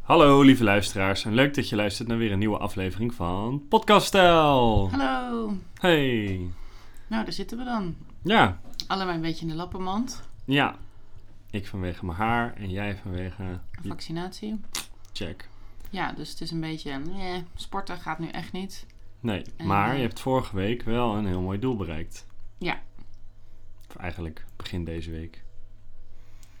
Hallo lieve luisteraars en leuk dat je luistert naar weer een nieuwe aflevering van Podcast Stijl. Hallo. Hey. Nou, daar zitten we dan. Ja, Allebei een beetje in de lappenmand. ja. Ik vanwege mijn haar en jij vanwege je Vaccinatie. check. Ja, dus het is een beetje... eh, sporten gaat nu echt niet. Nee, En, maar eh, je hebt vorige week wel een heel mooi doel bereikt. Ja. Of eigenlijk begin deze week.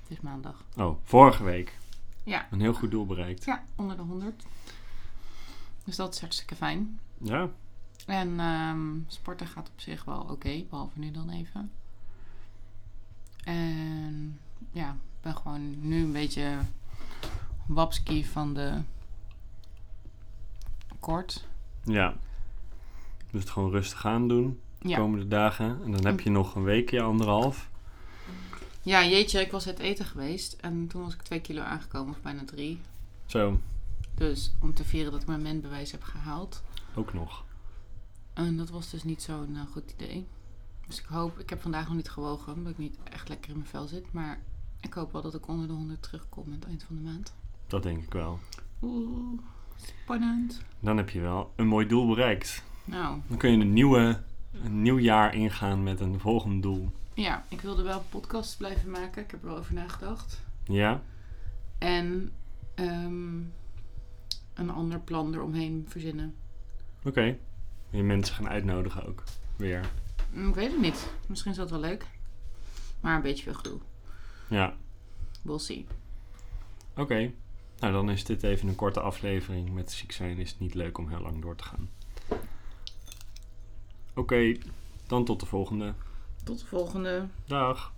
Het is maandag. Oh, vorige week. Ja. Een heel goed doel bereikt. Ja, onder de 100. Dus dat is hartstikke fijn. Ja. En ehm, sporten gaat op zich wel oké, behalve nu dan even. En ja, ik ben gewoon nu een beetje wapski van de kort. Ja. Dus het gewoon rustig aan doen de Ja. Hm. komende dagen. En dan heb je nog een weekje, anderhalf. Ja, jeetje, ik was het eten geweest en toen was ik twee kilo aangekomen, of bijna drie. Zo, Dus om te vieren dat ik mijn menbewijs heb gehaald. ook nog. En dat was dus niet zo'n eh, goed idee. Dus ik hoop, ik heb vandaag nog niet gewogen, omdat ik niet echt lekker in mijn vel zit. Maar ik hoop wel dat ik onder de 100 terugkom aan het eind van de maand. Dat denk ik wel. Oeh, spannend. Dan heb je wel een mooi doel bereikt. Nou, Dan kun je een, nieuwe, een nieuw jaar ingaan met een volgend doel. ja, ik wilde wel podcasts blijven maken. Ik heb er wel over nagedacht. Ja? En ehm, een ander plan eromheen verzinnen. Oké. Je mensen gaan uitnodigen ook. Weer. Mm, Ik weet het niet. Misschien is dat wel leuk. Maar een beetje veel gedoe. Ja. We'll see. Oké. Nou, dan is dit even een korte aflevering. Met ziek zijn is het niet leuk om heel lang door te gaan. Oké. Dan tot de volgende. Tot de volgende. Dag.